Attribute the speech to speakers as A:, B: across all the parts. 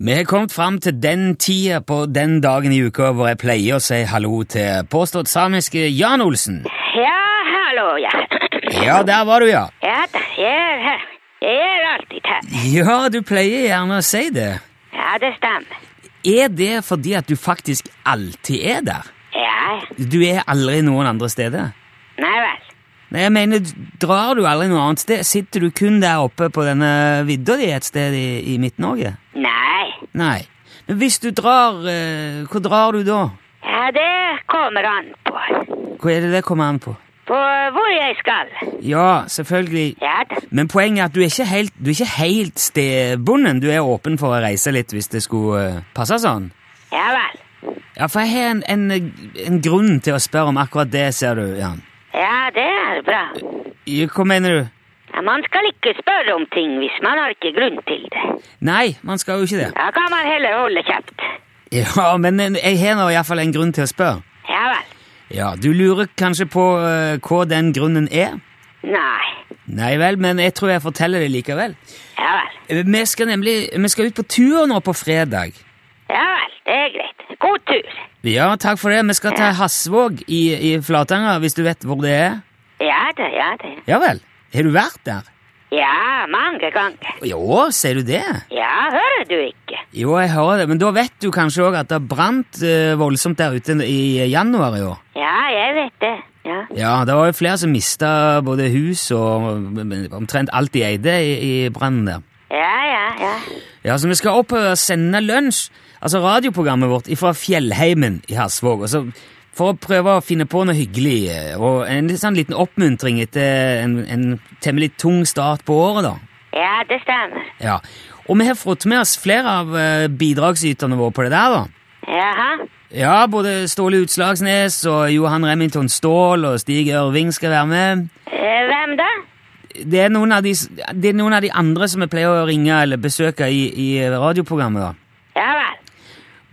A: Vi har kommet fram til den tida på den dagen i uka hvor jeg pleier å si hallo til påstått samiske Jan Olsen.
B: Ja, hallo, ja.
A: Ja, der var du, ja.
B: Ja da, jeg er her. Jeg er alltid her.
A: Ja, du pleier gjerne å si det.
B: Ja, det stemmer.
A: Er det fordi at du faktisk alltid er der?
B: Ja,
A: Du er aldri noen andre steder?
B: nei vel.
A: Nei, jeg mener, drar du aldri noe annet sted? Sitter du kun der oppe på denne vidda di et sted i, i Midt-Norge?
B: Nei.
A: Nei. Men hvis du drar, eh, hvor drar du da?
B: Ja, det kommer an på.
A: Hva er det det kommer an på?
B: På hvor jeg skal.
A: Ja, selvfølgelig.
B: Ja da.
A: Men poenget er at du er ikke helt, du er ikke helt stedbunden. Du er åpen for å reise litt hvis det skulle eh, passe sånn.
B: Ja vel.
A: Ja, for jeg har en, en, en grunn til å spørre om akkurat det, ser du, Jan.
B: Ja, det er bra.
A: Ja, Hva mener du?
B: Ja, man skal ikke spørre om ting hvis man har ikke grunn til det.
A: Nei, man skal jo ikke det.
B: Da kan man heller holde kjeft.
A: Ja, men eh, jeg har nå iallfall en grunn til å spørre.
B: Ja vel.
A: Ja, du lurer kanskje på eh, hva den grunnen er?
B: Nei.
A: Nei vel, men jeg tror jeg forteller det likevel.
B: Ja vel.
A: Eh, Vi skal nemlig vi skal ut på tur nå på fredag.
B: Ja vel, det er greit. God tur.
A: Ja, takk for det. Vi skal til Hasvåg i, i Flatanger, hvis du vet hvor det er.
B: Ja da, ja da.
A: Ja vel. Har du vært der?
B: Ja, mange ganger.
A: Jo, sier du det?
B: Ja, hører du ikke?
A: Jo, jeg hører det, men da vet du kanskje òg at det brant eh, voldsomt der ute i januar i år.
B: Ja, jeg vet det. Ja.
A: Ja, det var jo flere som mista både hus og eh, omtrent alt de eide i, i brannen der.
B: Ja, ja, ja.
A: Ja, så vi skal opp og sende lunsj, altså radioprogrammet vårt, fra Fjellheimen i Hasvåg. Og så for å prøve å finne på noe hyggelig, eh, og en litt sånn liten oppmuntring etter en, en temmelig tung start på året, da.
B: Ja, det stemmer.
A: Ja. Og vi har fått med oss flere av eh, bidragsyterne våre på det der, da.
B: Jaha.
A: Ja, både Ståle Utslagsnes og Johan Remington Ståhl og Stig Ørving skal være med.
B: Eh, Hvem da?
A: Det er noen av de, s- det er noen av de andre som vi pleier å ringe eller besøke i, i radioprogrammet, da.
B: Ja vel.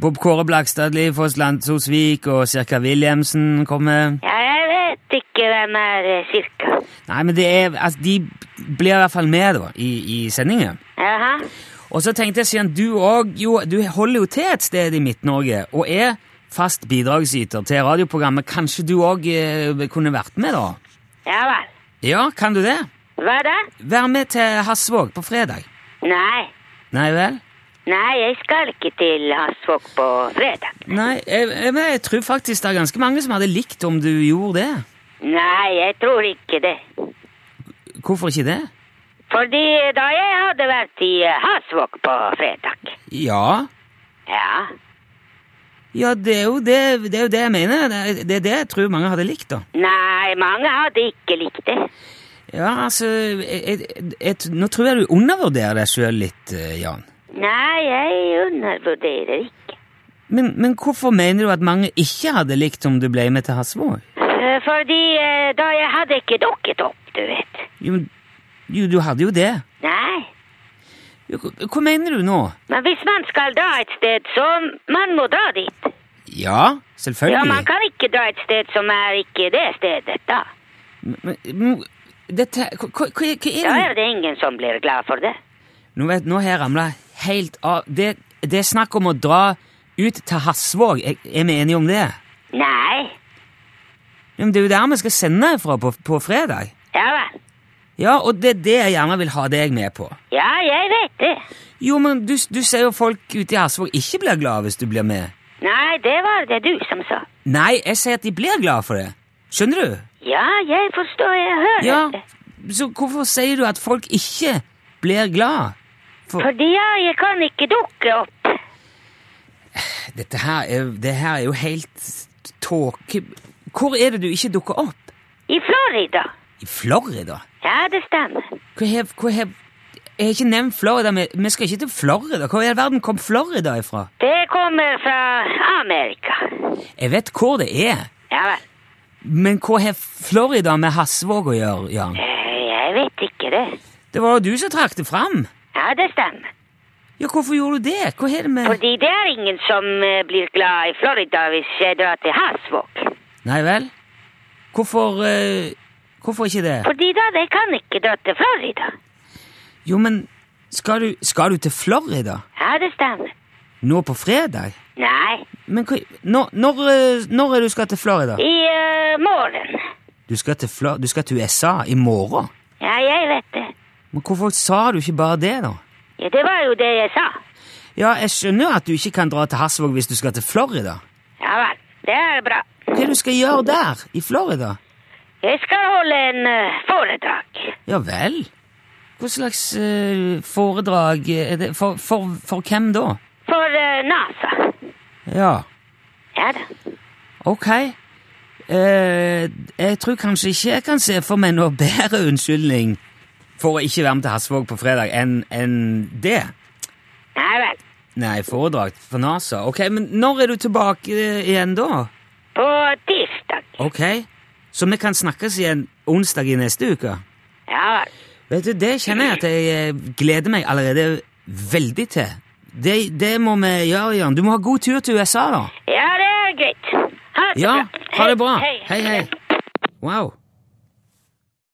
A: Bob Kåre Blakstadli, Foss Landsosvik og Cirka Williamsen kommer.
B: Ja, jeg vet ikke hvem er eh, cirka.
A: Nei, men det er, altså, de blir i hvert fall med da, i, i sendingen.
B: Jaha.
A: Og så tenkte jeg, siden du òg Jo, du holder jo til et sted i Midt-Norge og er fast bidragsyter til radioprogrammet. Kanskje du òg eh, kunne vært med, da?
B: Ja vel.
A: Ja, kan du det?
B: Hva da?
A: Vær med til Hasvåg på fredag.
B: Nei.
A: Nei vel?
B: Nei, jeg skal ikke til Hasvåg på fredag.
A: Nei, jeg, jeg, men jeg tror faktisk det er ganske mange som hadde likt om du gjorde det.
B: Nei, jeg tror ikke det.
A: Hvorfor ikke det?
B: Fordi da jeg hadde vært i eh, Hasvåg på fredag
A: Ja,
B: Ja.
A: Ja, det er jo det, det, er jo det jeg mener. Det er- det er det jeg tror mange hadde likt, da.
B: Nei, mange hadde ikke likt det.
A: Ja, altså jeg, jeg, jeg, Nå tror jeg du undervurderer deg sjøl litt, eh, Jan.
B: Nei, jeg undervurderer ikke.
A: Men, men hvorfor mener du at mange ikke hadde likt om du ble med til Hasvåg?
B: Eh, Fordi eh, da jeg hadde ikke dukket opp, du vet.
A: Jo, men- jo, du hadde jo det.
B: Nei.
A: Jo, hva- hva mener du nå?
B: Men hvis man skal dra et sted, så man må dra dit.
A: Ja,
B: Ja, man
A: selvfølgelig.
B: kan ikke dra et sted som er ikke det stedet, da.
A: Men, men dette Hva, hva, hva er
B: Da
A: det
B: er det ingen som blir glad for det.
A: Nå, vet, nå har jeg ramla helt av det, det er snakk om å dra ut til Hasvåg. Er er vi enige om det?
B: Nei.
A: Jo, Men det er jo der vi skal sende fra på, på fredag.
B: Ja vel.
A: Ja, og det er det jeg gjerne vil ha deg med på.
B: Ja, jeg vet det.
A: Jo, men du, du sier jo folk ute i Hasvåg ikke blir glad hvis du blir med.
B: Nei, det var det du som sa.
A: Nei, jeg sier at de blir glad for det. Skjønner du?
B: Ja, jeg forstår, jeg hører
A: Ja.
B: det.
A: Så hvorfor sier du at folk ikke blir glad? For
B: Fordi ja, jeg kan ikke dukke opp.
A: dette her er, det her er jo helt tåke... Hvor er det du ikke dukker opp?
B: I Florida.
A: I Florida?
B: Ja, det stemmer.
A: Hva har hva har- Jeg har ikke nevnt Florida, men vi skal ikke til Florida. Hvor i all verden kom Florida ifra?
B: Det kommer fra Amerika.
A: Jeg vet hvor det er.
B: Ja vel.
A: Men hva har Florida med Hasvåg å gjøre, Jan?
B: Eh, Jeg vet ikke det.
A: Det var jo du som trakk det fram.
B: Ja, det stemmer.
A: Ja, hvorfor gjorde du det? Hva har det med
B: Fordi det er ingen som eh, blir glad i Florida hvis jeg drar til Hasvåg.
A: Nei vel? Hvorfor eh, Hvorfor ikke det?
B: Fordi da de kan ikke dra til Florida.
A: Jo, men skal du, skal du til Florida?
B: Ja, Ja, det stemmer.
A: Nå på fredag?
B: Nei,
A: Men hva, når, når, eh, når er det du skal til Florida?
B: i eh, morgen.
A: Du skal, til Fla, du skal til USA i morgen?
B: Ja, jeg vet det.
A: Men hvorfor sa du ikke bare det, da?
B: Ja, det var jo det jeg sa.
A: Ja, jeg skjønner jo at du ikke kan dra til Hasvåg hvis du skal til Florida.
B: Ja vel, det er bra.
A: Hva er det du skal gjøre der, i Florida?
B: Jeg skal holde en eh, foredrag.
A: Ja vel? Hva slags eh, foredrag er det? For, for, for hvem da?
B: For eh, NASA.
A: Ja,
B: Ja da.
A: ok. Eh, jeg tror kanskje ikke jeg kan se for meg noe bedre unnskyldning for å ikke være med til Hasvåg på fredag enn enn det.
B: Nei vel.
A: Nei, foredrag for NASA. Ok, men når er du tilbake eh, igjen da?
B: På tirsdag.
A: Ok, så vi kan snakkes igjen onsdag i neste uke?
B: Ja vel.
A: Vet du, Det kjenner jeg at jeg eh, gleder meg allerede veldig til. Det, det må vi gjøre, Jørn. Du må ha god tur til USA, da.
B: Ja, det er greit. Ha det
A: Ja,
B: bra.
A: ha det bra.
B: Hei,
A: Hei, hei. Wow.